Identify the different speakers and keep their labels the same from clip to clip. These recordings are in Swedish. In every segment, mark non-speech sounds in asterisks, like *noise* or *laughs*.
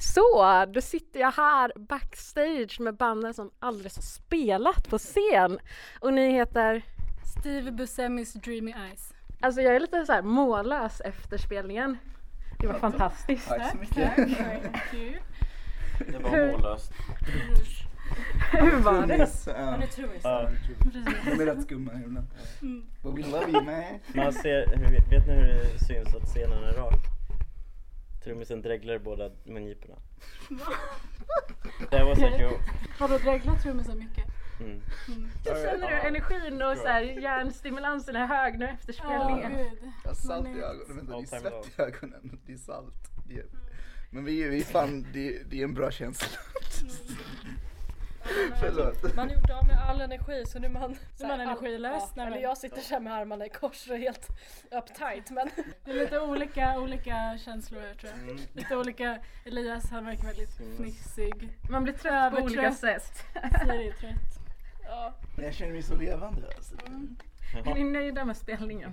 Speaker 1: Så, då sitter jag här backstage med banden som aldrig har spelat på scen. Och ni heter?
Speaker 2: Steve Busemis Dreamy Eyes.
Speaker 1: Alltså jag är lite så här mållös efter spelningen. Det var fantastiskt.
Speaker 3: Tack så mycket. *laughs*
Speaker 2: Thank you.
Speaker 4: Det var mållöst.
Speaker 1: *laughs* Hur var det?
Speaker 3: Trummis, ja.
Speaker 2: trummis?
Speaker 4: Ja,
Speaker 2: Precis.
Speaker 3: De är rätt skumma ibland.
Speaker 2: Mm.
Speaker 3: But we love you man.
Speaker 4: man ser, hur, vet ni hur det syns att scenen är rak? Trummisen dreglar i båda *laughs* mungiporna. Det var så cool.
Speaker 2: Har du dreglat trummisen mycket?
Speaker 4: Mm.
Speaker 2: Mm.
Speaker 1: Känner du energin och så här hjärnstimulansen är hög nu efter
Speaker 2: Ja,
Speaker 1: spelningen?
Speaker 2: gud.
Speaker 3: Jag har salt
Speaker 2: Man
Speaker 3: i
Speaker 2: är-
Speaker 3: ögonen, vänta det är
Speaker 4: All time
Speaker 3: svett
Speaker 4: low.
Speaker 3: i ögonen. Det är salt. Det är... Men vi är, vi är fan, det är, det är en bra känsla. *laughs* Förlåt.
Speaker 5: Man har gjort av med all energi så nu är man, så
Speaker 2: man
Speaker 5: all-
Speaker 2: energilös, nej,
Speaker 5: Ja,
Speaker 2: men-
Speaker 5: eller jag sitter så här med armarna i kors och är helt uptight men
Speaker 2: Det är lite olika, olika känslor här tror jag. Lite olika, Elias han verkar väldigt
Speaker 4: Mm.
Speaker 5: *laughs*
Speaker 2: fnissig.
Speaker 1: Man blir trött på olika
Speaker 2: Övertrött.
Speaker 1: sätt.
Speaker 2: Siri är trött.
Speaker 5: ja.
Speaker 3: Men jag känner mig så levande. Alltså.
Speaker 1: Är ni nöjda med spelningen?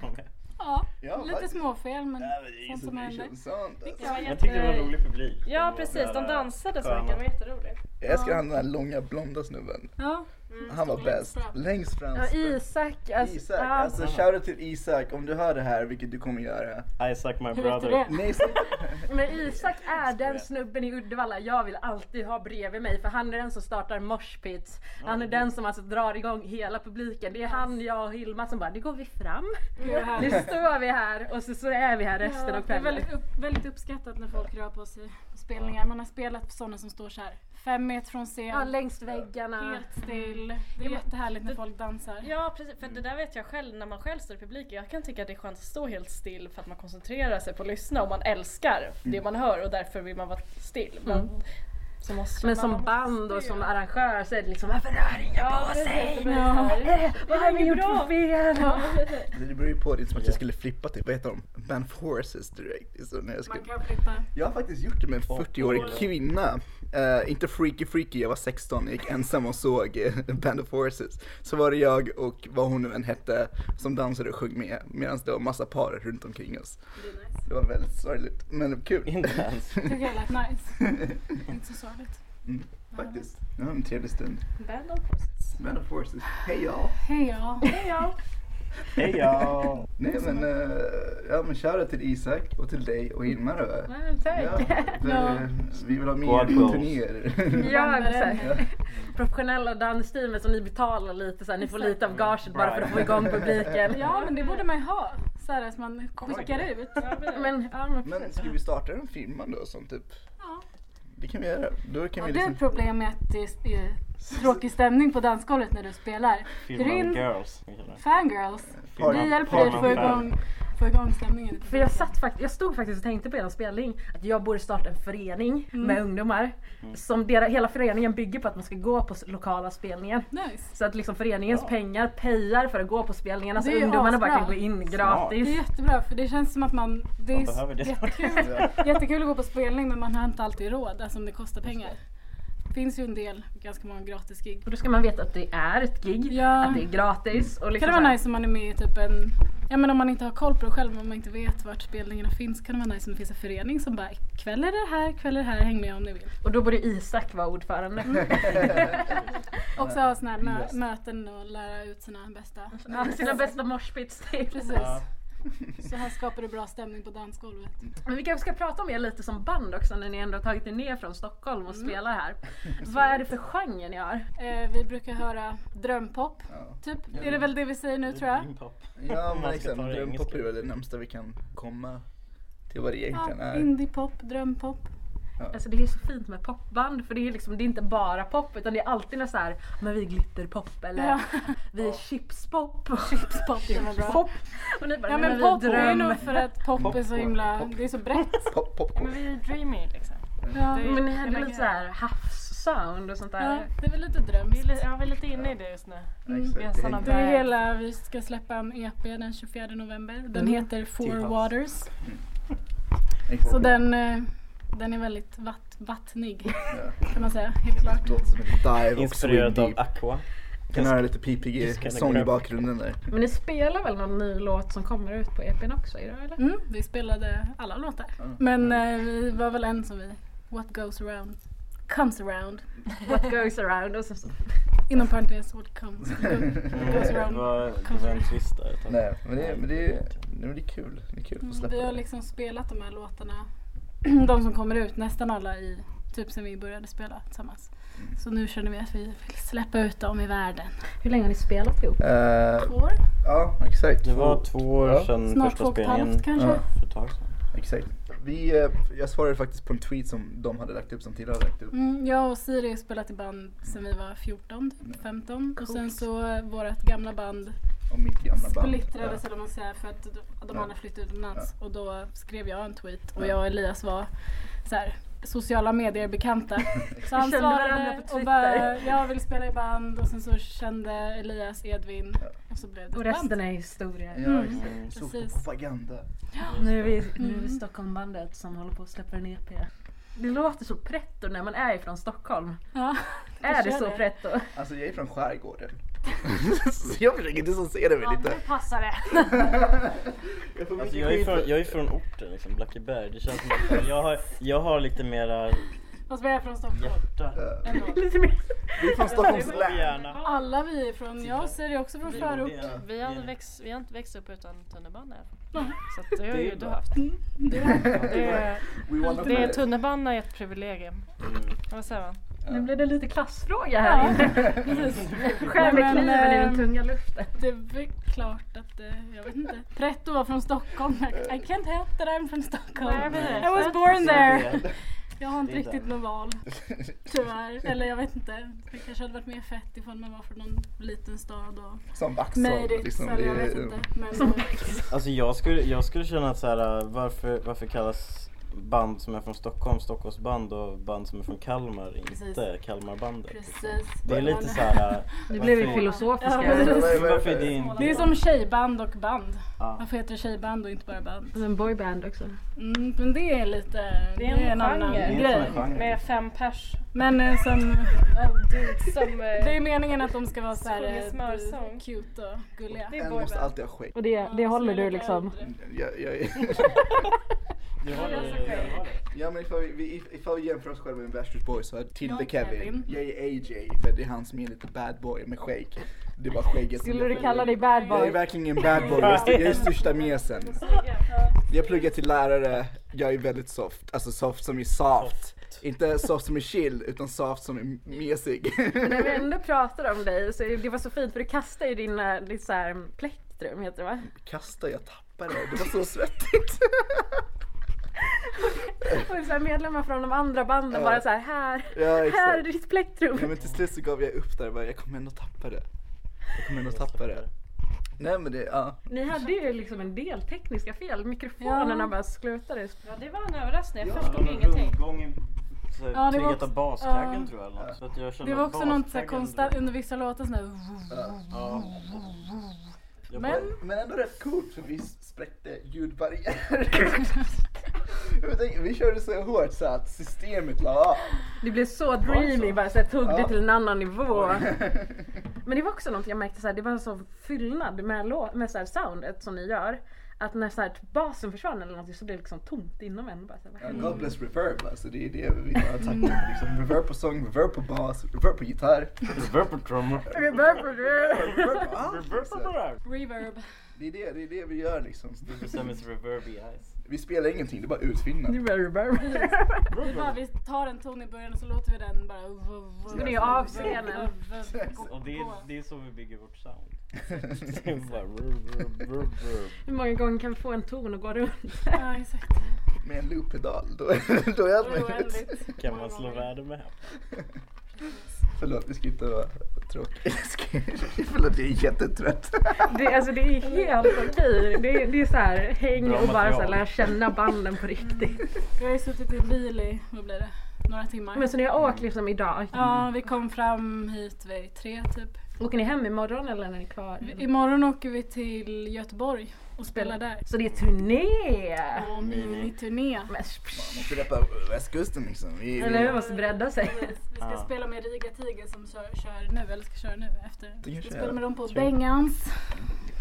Speaker 2: Ja,
Speaker 3: Ja,
Speaker 2: lite
Speaker 3: faktiskt.
Speaker 2: småfel men
Speaker 3: Ja, men det är ju
Speaker 2: sånt
Speaker 3: så
Speaker 2: som
Speaker 3: mycket
Speaker 2: händer.
Speaker 3: sånt. Alltså.
Speaker 2: var
Speaker 4: Jag tyckte det var en rolig publik. De
Speaker 5: ja
Speaker 4: var
Speaker 5: precis, de
Speaker 4: sådär
Speaker 5: dansade så
Speaker 4: sköna.
Speaker 5: mycket, det var jätteroligt.
Speaker 3: Jag älskar han den här långa blonda snubben.
Speaker 2: Ja,
Speaker 3: Han var
Speaker 2: Längst
Speaker 3: bäst.
Speaker 2: fram.
Speaker 3: Längst fram.
Speaker 1: Ja, Isak. Alltså,
Speaker 3: Isak,
Speaker 1: ja.
Speaker 3: alltså shoutout till Isak om du hör det här, vilket du kommer göra.
Speaker 4: Isaac my
Speaker 2: hur vet du
Speaker 4: brother.
Speaker 2: det?
Speaker 3: Nej, så...
Speaker 1: *laughs* Men Isak är den snubben i Uddevalla jag vill alltid ha bredvid mig för han är den som startar moshpits. Han är den som alltså drar igång hela publiken. Det är han, jag och Hilma som bara, nu går vi fram.
Speaker 2: Gud, vad
Speaker 1: Nu
Speaker 2: härligt.
Speaker 1: står vi här och så, så är vi här resten
Speaker 2: Ja,
Speaker 1: av
Speaker 2: det är
Speaker 1: kvällen.
Speaker 2: väldigt, upp, väldigt uppskattat när folk rör på sig på spelningar. Man har spelat för sådana som står så här fem meter från scen,
Speaker 1: Ja, längs väggarna.
Speaker 2: helt
Speaker 5: Mm.
Speaker 2: still. Det är jättehärligt när folk dansar.
Speaker 5: Ja precis, för det där vet jag själv när man själv står i publiken. Jag kan tycka att det är skönt att stå helt still för att man koncentrerar sig på att lyssna och man älskar det
Speaker 1: Mm.
Speaker 5: man hör och därför vill man vara still. Men, så måste
Speaker 1: Men
Speaker 5: man-
Speaker 1: som band och som arrangör så är det liksom, varför rör ingen
Speaker 5: Ja,
Speaker 1: på
Speaker 5: precis,
Speaker 1: sig?
Speaker 5: det blir så här.
Speaker 1: Eh, Vad har vi
Speaker 5: inget
Speaker 1: gjort
Speaker 5: bra.
Speaker 1: för fel?
Speaker 3: Det beror ju på, det är som att jag skulle flippa till, vad heter de? Band Forces direkt. Det är Så när jag, skulle...
Speaker 2: Man kan flippa.
Speaker 3: jag har faktiskt gjort det med en 40-årig kvinna. Eh, inte freaky freaky, jag var 16, jag gick ensam och såg eh, Band of Forces. Så var det jag och vad hon nu än hette som dansade och sjöng med medan det var massa par runt omkring oss. Det var väldigt sorgligt, men *laughs* kul
Speaker 4: Inte ens.
Speaker 2: Tycker jag lät nice. Inte så sorgligt.
Speaker 3: *laughs* faktiskt. Det var en trevlig stund.
Speaker 5: Band of Forces.
Speaker 3: Band of Forces, hej ja!
Speaker 2: Hej ja.
Speaker 4: Hej
Speaker 2: *laughs*
Speaker 4: ja!
Speaker 3: Nej men, eh, ja men shoutout till Isak och till dig och Hilma då. Ja, för,
Speaker 2: *laughs* Ja.
Speaker 3: eh, Vi vill ha mer
Speaker 4: God goals.
Speaker 2: *laughs*
Speaker 3: turnéer.
Speaker 1: Ja,
Speaker 2: Vandrar den.
Speaker 1: exakt. Professionella dansteamet som ni betalar lite så här, ni får lite av gaget bara för att få igång publiken.
Speaker 2: Ja men det borde man ju ha. Såhär att man skickar ut.
Speaker 1: *laughs* Men, ja, men
Speaker 3: Men ska vi starta en firma då som typ,
Speaker 2: Ja.
Speaker 3: det kan vi göra. Då kan
Speaker 2: Har
Speaker 3: vi
Speaker 2: du
Speaker 3: liksom... *laughs*
Speaker 2: problem med att det är tråkig stämning på dansgolvet när du spelar? Hyr
Speaker 4: Filmen
Speaker 2: in
Speaker 4: Girls. vi kallar det.
Speaker 2: fangirls.
Speaker 3: Har-
Speaker 2: Vi
Speaker 3: Fan-
Speaker 2: hjälper dig att
Speaker 4: fan-
Speaker 2: få igång, få igång stämningen.
Speaker 1: För jag, satt fakt- jag stod faktiskt och tänkte på er spelning att jag borde starta en förening
Speaker 2: Mm.
Speaker 1: med ungdomar. Som dera, hela föreningen bygger på att man ska gå på s- lokala spelningar.
Speaker 2: Nice.
Speaker 1: Så att liksom föreningens pengar pejar för att gå på spelningarna så
Speaker 2: Det är ju
Speaker 1: ungdomarna bara kan
Speaker 2: asbra.
Speaker 1: gå in
Speaker 2: Det är
Speaker 1: gratis.
Speaker 2: jättebra för det känns som att man... Det
Speaker 4: Man
Speaker 2: är
Speaker 4: behöver det.
Speaker 2: jättekul, jättekul att gå på spelning men man har inte alltid råd, alltså om det kostar pengar. Det finns ju en del, ganska många gratis gig.
Speaker 1: Och då ska man veta att det är ett gig,
Speaker 2: Ja.
Speaker 1: att det är gratis. Och liksom
Speaker 2: Kan det
Speaker 1: så
Speaker 2: vara
Speaker 1: här-
Speaker 2: nice om man är med i typ en... Ja men om man inte har koll på det själv, om man inte vet vart spelningarna finns kan det vara nice om det finns en förening som bara kväll är det här, kväll är det här, häng med om ni vill.
Speaker 1: Och då borde Isak vara ordförande.
Speaker 2: *laughs* Och så ha såna här mö- möten och lära ut sina bästa.
Speaker 1: Ja, Sina bästa moshpits
Speaker 2: Precis.
Speaker 4: Ja.
Speaker 2: Så här skapar du bra stämning på dansgolvet.
Speaker 1: Men vi kanske ska prata om er lite som band också när ni ändå har tagit er ner från Stockholm
Speaker 2: Mm.
Speaker 1: och spelar
Speaker 2: *laughs*
Speaker 1: här. Vad är det för genre ni har?
Speaker 2: Eh, vi brukar höra drömpop,
Speaker 3: Ja.
Speaker 2: typ. Är det väl det vi säger nu tror jag?
Speaker 4: Dream pop.
Speaker 3: Ja
Speaker 4: Om
Speaker 3: men
Speaker 4: man Mm. ska
Speaker 3: liksom,
Speaker 4: ta det
Speaker 3: drömpop
Speaker 4: engelska.
Speaker 3: är väl det närmsta vi kan komma till vad det egentligen
Speaker 2: Ja,
Speaker 3: är.
Speaker 2: indiepop, drömpop.
Speaker 1: Alltså det är så fint med popband för det är liksom det är inte bara pop utan det är alltid något så här, men vi är glitterpop eller
Speaker 2: Ja.
Speaker 1: vi är chipspop.
Speaker 2: *laughs* Chipspop den var bra.
Speaker 1: Pop. Och ni bara,
Speaker 2: Ja
Speaker 1: nej,
Speaker 2: men
Speaker 1: vi är
Speaker 2: pop är
Speaker 1: dröm.
Speaker 2: nog för att pop är så himla, det är så brett.
Speaker 3: Pop, popcorn.
Speaker 5: Men vi är dreamy liksom.
Speaker 2: *laughs* Ja,
Speaker 1: Men ni hade lite så här havssound och sånt där.
Speaker 2: ja det är väl lite dröm.
Speaker 5: Vi är, li- ja, vi är lite inne i det just nu. Vi har
Speaker 3: Exakt,
Speaker 5: sådana
Speaker 3: det
Speaker 2: Det
Speaker 3: hänger-
Speaker 2: är hela, vi ska släppa en EP den 24 november. Den heter Four
Speaker 3: Tearhouse.
Speaker 2: Waters.
Speaker 3: hänger
Speaker 2: Så
Speaker 3: ihop.
Speaker 2: den, eh, den är väldigt vatt, vattnig
Speaker 3: Ja.
Speaker 2: kan man säga, helt klart.
Speaker 3: Låter som ett dive och swim
Speaker 4: Inspirerad av
Speaker 3: deep.
Speaker 4: Aqua.
Speaker 3: Kan höra lite
Speaker 4: Just gonna
Speaker 3: PPG-sång i
Speaker 4: grab-
Speaker 3: bakgrunden där.
Speaker 1: Men ni spelar väl någon ny låt som kommer ut E
Speaker 2: *laughs*
Speaker 1: på EPn också idag eller?
Speaker 3: Mm.
Speaker 2: Mm, vi spelade alla låtar. Men eh, vi var väl en som vi What goes around comes around.
Speaker 1: What goes around och så, så.
Speaker 2: Inom parentes what comes.
Speaker 3: *laughs*
Speaker 2: goes
Speaker 4: Det
Speaker 2: around.
Speaker 4: var, det var en twist där. ett tag.
Speaker 3: Nej, men det, men det, nej, men det är kul. Det är kul att få släppa
Speaker 2: Vi har
Speaker 3: det.
Speaker 2: liksom spelat de här låtarna, *clears throat* de som kommer ut, nästan alla i typ sen vi började spela tillsammans.
Speaker 3: Mm.
Speaker 2: Så nu känner vi att vi vill släppa ut dem i världen.
Speaker 1: Hur länge har ni spelat
Speaker 2: liksom-
Speaker 1: ihop?
Speaker 3: Eh,
Speaker 2: Två år?
Speaker 3: ja, exakt.
Speaker 4: Det var två år
Speaker 3: Ja.
Speaker 4: sedan
Speaker 2: Snart två
Speaker 4: första
Speaker 2: och ett
Speaker 4: spelningen.
Speaker 2: halvt kanske?
Speaker 3: Ja.
Speaker 4: För ett tag sedan.
Speaker 3: Exakt. Vi, eh, jag svarade faktiskt på en tweet som de hade lagt upp som tidigare hade lagt upp.
Speaker 2: Mm, jag och Siri har spelat i band sedan vi var 14, typ 15. Och sen så eh, vårt gamla band
Speaker 3: Om mitt gamla band.
Speaker 2: splittrades
Speaker 3: Ja.
Speaker 2: eller vad man säger för att de- de
Speaker 3: Ja.
Speaker 2: andra flyttade utomlands. Och då skrev jag en tweet och
Speaker 3: Ja.
Speaker 2: jag och Elias var så här, sociala medier bekanta. Så han
Speaker 1: Vi kände varandra
Speaker 2: svarade
Speaker 1: på
Speaker 2: och
Speaker 1: Twitter.
Speaker 2: bara jag vill spela i band och sen så kände Elias Edvin och så blev det
Speaker 1: Och
Speaker 2: ett band.
Speaker 1: resten är historia.
Speaker 3: Ja, exakt.
Speaker 4: Mm,
Speaker 3: Så
Speaker 2: precis.
Speaker 3: propaganda.
Speaker 1: Nu är, vi, nu är vi Stockholmbandet som håller på att släppa en E EP. Det låter så pretto när man är ifrån Stockholm.
Speaker 2: Ja,
Speaker 1: Är det
Speaker 2: kör
Speaker 1: så
Speaker 2: det.
Speaker 1: pretto?
Speaker 3: Alltså jag är från skärgården. *laughs* så jag försöker distansera mig lite.
Speaker 1: passar det.
Speaker 3: *laughs* Jag får
Speaker 4: Alltså
Speaker 3: mycket
Speaker 4: jag är
Speaker 3: skit
Speaker 4: från,
Speaker 3: för-
Speaker 4: jag är från orten liksom, Blackeberg. Det känns som att jag har, jag har lite mera
Speaker 2: fast vi är från Stockholm.
Speaker 4: hjärta.
Speaker 2: ändå.
Speaker 1: *laughs* Lite mer.
Speaker 3: Eh, Vi är från Stockholms län.
Speaker 4: Gärna.
Speaker 2: Alla vi är från, jag ser också från förort.
Speaker 5: Vi har,
Speaker 4: Ja.
Speaker 5: växt, vi har inte växt upp utan tunnelbana i alla fall. Så att det har
Speaker 4: Det
Speaker 5: ju
Speaker 4: är ju
Speaker 5: du
Speaker 4: bra.
Speaker 5: haft. Det är,
Speaker 3: We wanna
Speaker 5: det är
Speaker 3: play.
Speaker 5: tunnelbana är ett privilegium.
Speaker 4: Mm.
Speaker 5: Vad säger man?
Speaker 1: Nu blev det lite klassfråga här
Speaker 2: Ja,
Speaker 1: inne.
Speaker 2: precis.
Speaker 1: *laughs* Skär med
Speaker 2: Men,
Speaker 1: kniven i den
Speaker 2: ehm,
Speaker 1: tunga luften.
Speaker 2: Det är väl klart att det, jag vet inte. Pretto var från Stockholm. I can't help that I'm from
Speaker 5: Nej,
Speaker 2: Stockholm.
Speaker 5: precis.
Speaker 2: I was born
Speaker 4: Så det
Speaker 2: there.
Speaker 4: är-
Speaker 2: Jag har inte
Speaker 4: Det är
Speaker 2: riktigt
Speaker 4: den.
Speaker 2: något val. Tyvärr. Eller jag vet inte. Det kanske hade varit mer fett ifall man var från någon liten stad
Speaker 3: *laughs*
Speaker 2: och
Speaker 3: Som Vaxholm.
Speaker 2: Mejrits
Speaker 3: liksom.
Speaker 2: eller jag
Speaker 3: Det
Speaker 2: vet
Speaker 3: är-
Speaker 2: inte. Men
Speaker 4: Alltså jag skulle, jag skulle känna att så här, äh, varför, varför kallas band som är från Stockholm Stockholmsband och band som är från Kalmar inte
Speaker 2: Precis.
Speaker 4: Kalmarbandet?
Speaker 2: precis.
Speaker 4: Det är
Speaker 2: Man-
Speaker 4: lite så här. äh,
Speaker 1: Nu blev vi
Speaker 4: varför-
Speaker 1: filosofiska.
Speaker 2: Ja, precis.
Speaker 4: Men Varför är det inte...
Speaker 2: Det är som tjejband och band.
Speaker 4: Ja.
Speaker 2: Varför heter det tjejband och inte bara band?
Speaker 1: Och sen boyband också.
Speaker 2: Mm, men det är lite...
Speaker 5: Det är en genre.
Speaker 4: Det är inte
Speaker 2: grej.
Speaker 4: en genre.
Speaker 5: Med fem pers.
Speaker 2: Men eh, som...
Speaker 5: Som,
Speaker 2: Det
Speaker 5: eh,
Speaker 2: är meningen att de ska vara så här
Speaker 5: Sjunger
Speaker 2: eh,
Speaker 5: smörsång.
Speaker 2: cute och gulliga.
Speaker 5: det är
Speaker 3: En måste
Speaker 5: boyband.
Speaker 3: alltid ha skägg.
Speaker 1: Och det, det
Speaker 2: Ja,
Speaker 1: håller
Speaker 2: så är
Speaker 1: du
Speaker 2: lite
Speaker 1: liksom.
Speaker 2: äldre.
Speaker 3: Jag, jag,
Speaker 4: Du har
Speaker 5: Jag sa själv.
Speaker 4: det.
Speaker 3: ja men ifall vi- vi, ifall vi jämför oss själva med Backstreet Boys så är Tilde
Speaker 2: Jag är
Speaker 3: Kevin.
Speaker 2: Kevin.
Speaker 3: Jag är AJ för det är han som är lite bad boy med skägg. Det var skägget som
Speaker 1: Skulle
Speaker 3: jag
Speaker 1: du kalla dig
Speaker 3: följde.
Speaker 1: bad
Speaker 3: Jag är
Speaker 1: boy?
Speaker 3: verkligen en bad boy, jag är, jag är största mesen. Jag pluggar till lärare, jag är väldigt soft. Alltså soft som är soft. Inte soft som är chill, utan soft som är mesig.
Speaker 1: Men när vi ändå pratar om dig så är- det var så fint för du kastar ju din, eh, ditt så här, plektrum heter det va?
Speaker 3: Kasta, jag tappade det. Det var så svettigt.
Speaker 1: Och så här medlemmar från de andra banden
Speaker 3: Ja.
Speaker 1: bara så här, här,
Speaker 3: Ja,
Speaker 1: här är
Speaker 3: exakt.
Speaker 1: ditt plektrum.
Speaker 3: Ja, men till slut så gav jag upp där och bara, jag kommer ändå tappa det. Jag kommer ändå tappa det. Nej men det, ja.
Speaker 1: Ni hade ju liksom en del tekniska fel, mikrofonerna
Speaker 2: Ja.
Speaker 1: bara slutade.
Speaker 5: Ja, det var en överrassning. Jag
Speaker 3: Ja,
Speaker 4: Det var
Speaker 5: förstod
Speaker 4: någon
Speaker 5: ingenting.
Speaker 4: rundgång i så här,
Speaker 2: Ja, det var
Speaker 4: triggat
Speaker 2: också-
Speaker 4: av baskaggen
Speaker 2: ja.
Speaker 4: tror jag eller något. Så att jag kände
Speaker 2: Det var
Speaker 4: att
Speaker 2: också något så här
Speaker 4: baskaggen-
Speaker 2: konstant under vissa låtar sån där...
Speaker 4: Ja. Jag
Speaker 2: Men-
Speaker 4: bara-
Speaker 3: Men ändå rätt coolt för vi spräckte ljudbarriärer. *laughs* Jag tänker, vi körde så hårt så att systemet la av.
Speaker 1: Det blev så
Speaker 4: det
Speaker 1: dreamy,
Speaker 4: så?
Speaker 1: bara så här, tog
Speaker 3: Ja.
Speaker 1: det till en annan nivå.
Speaker 3: Oj.
Speaker 1: *laughs* Men det var också något jag märkte, så här, det var en sån fyllnad med, lå- med så här, soundet som ni gör. Att när så här, typ basen försvann eller någonting så blev det liksom tomt inom en. Bara, så här, vad
Speaker 3: Ja,
Speaker 1: händer?
Speaker 3: God bless reverb alltså, det är det vi har tackat liksom. Reverb på sång, reverb på bas, reverb på gitarr.
Speaker 4: Reverb på trummor.
Speaker 3: Reverb *laughs* på allt
Speaker 4: Reverb på
Speaker 3: liksom.
Speaker 4: trummor.
Speaker 2: Reverb.
Speaker 3: Det är det, det är det vi gör liksom. Så det-
Speaker 4: Bestämmer reverb i eyes.
Speaker 3: Vi spelar ingenting, det är bara
Speaker 1: Nu
Speaker 3: utfyllnad.
Speaker 1: börjar det börja.
Speaker 2: Vi bara vi tar en ton i början och så låter vi den bara...
Speaker 1: Ska ni av scenen?
Speaker 4: Och det är, det är så vi bygger vårt sound. *laughs* Det är bara reverb, reverb, reverb.
Speaker 1: Hur många gånger kan vi få en ton att gå runt?
Speaker 2: Ja exakt.
Speaker 3: *laughs* Med en looppedal, då, *laughs* då är allt möjligt.
Speaker 2: Oändligt.
Speaker 4: Kan man slå värde med hem?
Speaker 3: Förlåt, vi ska inte vara tråkiga. Jag ska- *laughs* Förlåt, jag är jättetrött.
Speaker 1: Det, alltså, det är helt okej. Det, är- det är så här, häng
Speaker 4: Bra
Speaker 1: och bara så här,
Speaker 4: material.
Speaker 1: lära känna banden på riktigt.
Speaker 2: Vi har ju suttit i bil i, vad blir det, några timmar.
Speaker 1: Men så ni har åkt liksom idag.
Speaker 2: Ja, vi kom fram hit vid tre typ.
Speaker 1: Åker ni hem imorgon eller när ni är kvar?
Speaker 2: Imorgon åker vi till Göteborg och spelar där.
Speaker 1: Så det är turné!
Speaker 2: Och miniturné.
Speaker 1: Men pff,
Speaker 3: Man får reppa västkusten liksom. Vi,
Speaker 1: Eller hur? Man
Speaker 3: vi,
Speaker 1: måste bredda sig.
Speaker 2: Vi ska
Speaker 4: Ja.
Speaker 2: spela med Riga Tiger som kör, kör nu, eller ska köra nu efter.
Speaker 3: Det
Speaker 2: Vi
Speaker 3: kanske
Speaker 2: spelar
Speaker 3: är.
Speaker 2: med dem på
Speaker 4: Kul.
Speaker 2: Bengans. *laughs*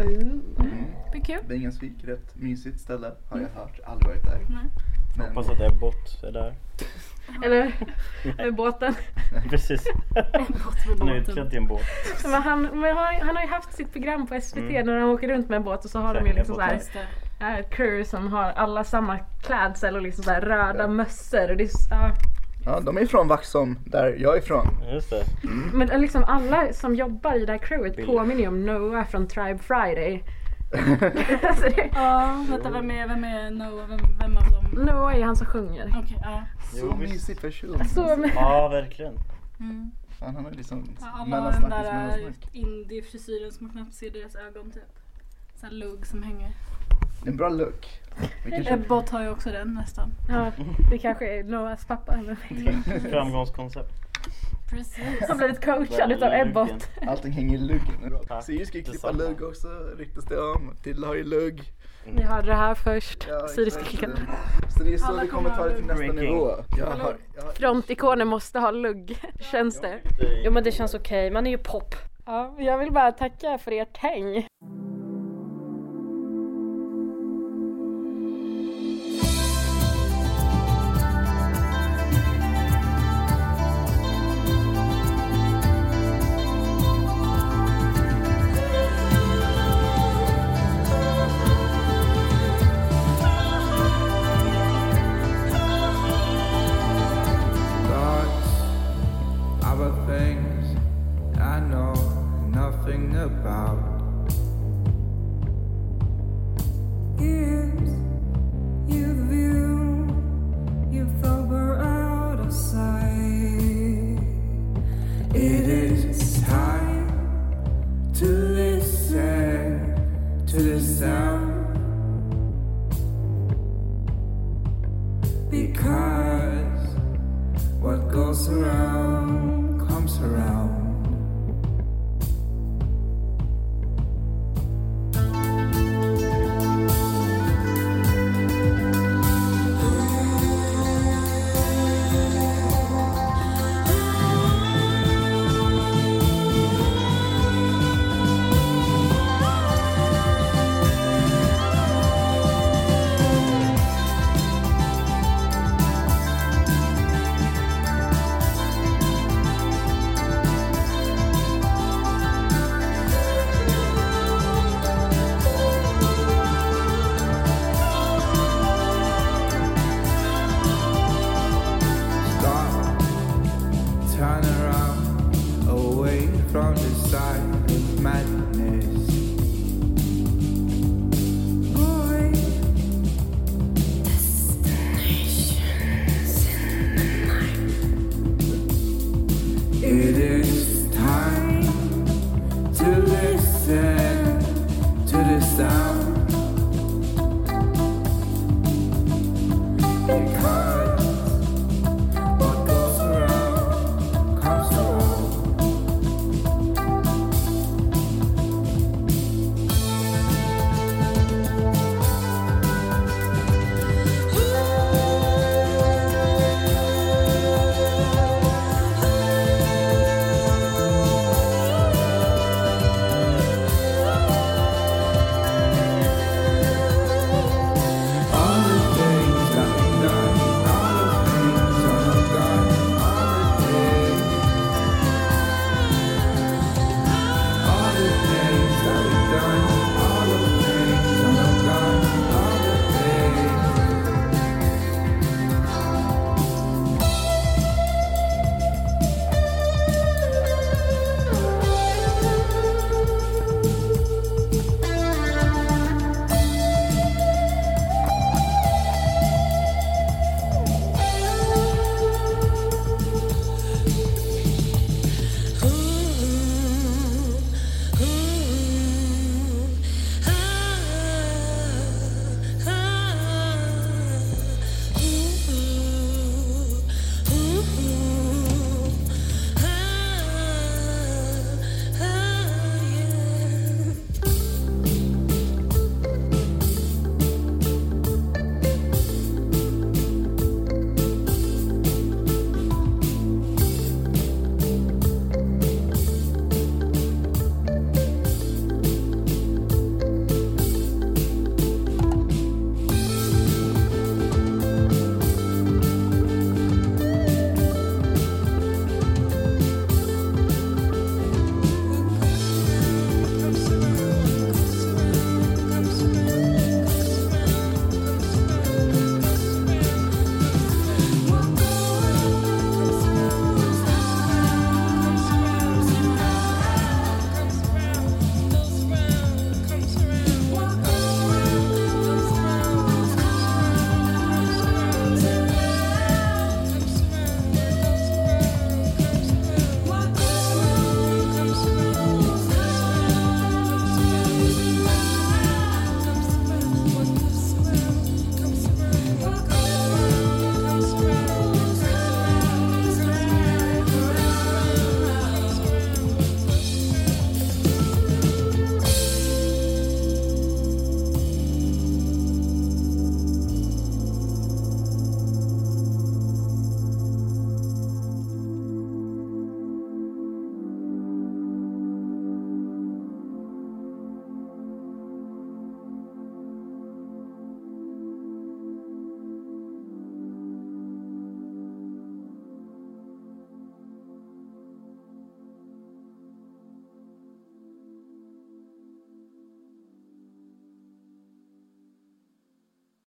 Speaker 1: Mm.
Speaker 3: mm.
Speaker 2: Det blir kul.
Speaker 3: Bengans fik, rätt mysigt ställe har jag hört. Aldrig varit där.
Speaker 2: Mm. Nej.
Speaker 3: Men,
Speaker 4: Hoppas att Ebbot är där.
Speaker 1: Eller med båten.
Speaker 4: *laughs* Precis. Han är utklädd i en båt.
Speaker 1: Men han, men han, han har ju haft sitt program på SVT
Speaker 4: Mm.
Speaker 1: när de åker runt med en båt och så har de ju
Speaker 4: Säkert
Speaker 1: liksom
Speaker 4: båt,
Speaker 1: såhär
Speaker 2: Just det.
Speaker 1: äh, ett crew som har alla samma klädsel och liksom såhär röda mössor. Och det är, s- ja.
Speaker 3: ja, de är från Vaxholm, där jag är
Speaker 2: *laughs*
Speaker 3: ifrån.
Speaker 4: Just det.
Speaker 1: Men liksom alla som jobbar i det här crewet
Speaker 4: Bill.
Speaker 1: påminner ju om Noah från Tribe Friday. *laughs* alltså det,
Speaker 2: Ja, vänta vem är, vem är Noah, vem, vem av dem?
Speaker 1: Noah är ju han som sjunger.
Speaker 2: Okej, ja.
Speaker 3: Så
Speaker 4: Jo, visst.
Speaker 3: mysig person.
Speaker 1: Så, men,
Speaker 4: Ja,
Speaker 2: *laughs*
Speaker 4: verkligen.
Speaker 2: Mm.
Speaker 3: Fan, han har liksom
Speaker 2: Ja, Alla har den
Speaker 3: mellansnackis,
Speaker 2: där eh,
Speaker 3: mellansnack.
Speaker 2: indie-frisyren som man knappt ser deras ögon typ. Sån här lugg som hänger.
Speaker 3: En bra look. Vilken tjej.
Speaker 2: Ebbot har ju också den nästan.
Speaker 1: ja, det kanske är Noahs pappa. eller-
Speaker 4: Framgångskoncept.
Speaker 2: Precis.
Speaker 1: Han har blivit coachad utav Ebbot.
Speaker 3: Allting hänger i luggen.
Speaker 4: Tack,
Speaker 3: Siri ska ju klippa
Speaker 4: detsamma.
Speaker 3: lugg också, ryktas det om. Tilda har ju lugg.
Speaker 1: Ni hörde det här först.
Speaker 3: Ja,
Speaker 1: Siri ska
Speaker 3: exakt.
Speaker 1: klicka.
Speaker 3: Så det är så
Speaker 2: Alla
Speaker 3: vi kommer ta det till nästa
Speaker 4: Breaking.
Speaker 3: nivå. Jag har, jag har,
Speaker 1: Frontikoner måste ha lugg, känns det.
Speaker 5: Jo men det känns okej, man är ju pop.
Speaker 1: Ja, jag vill bara tacka för ert häng.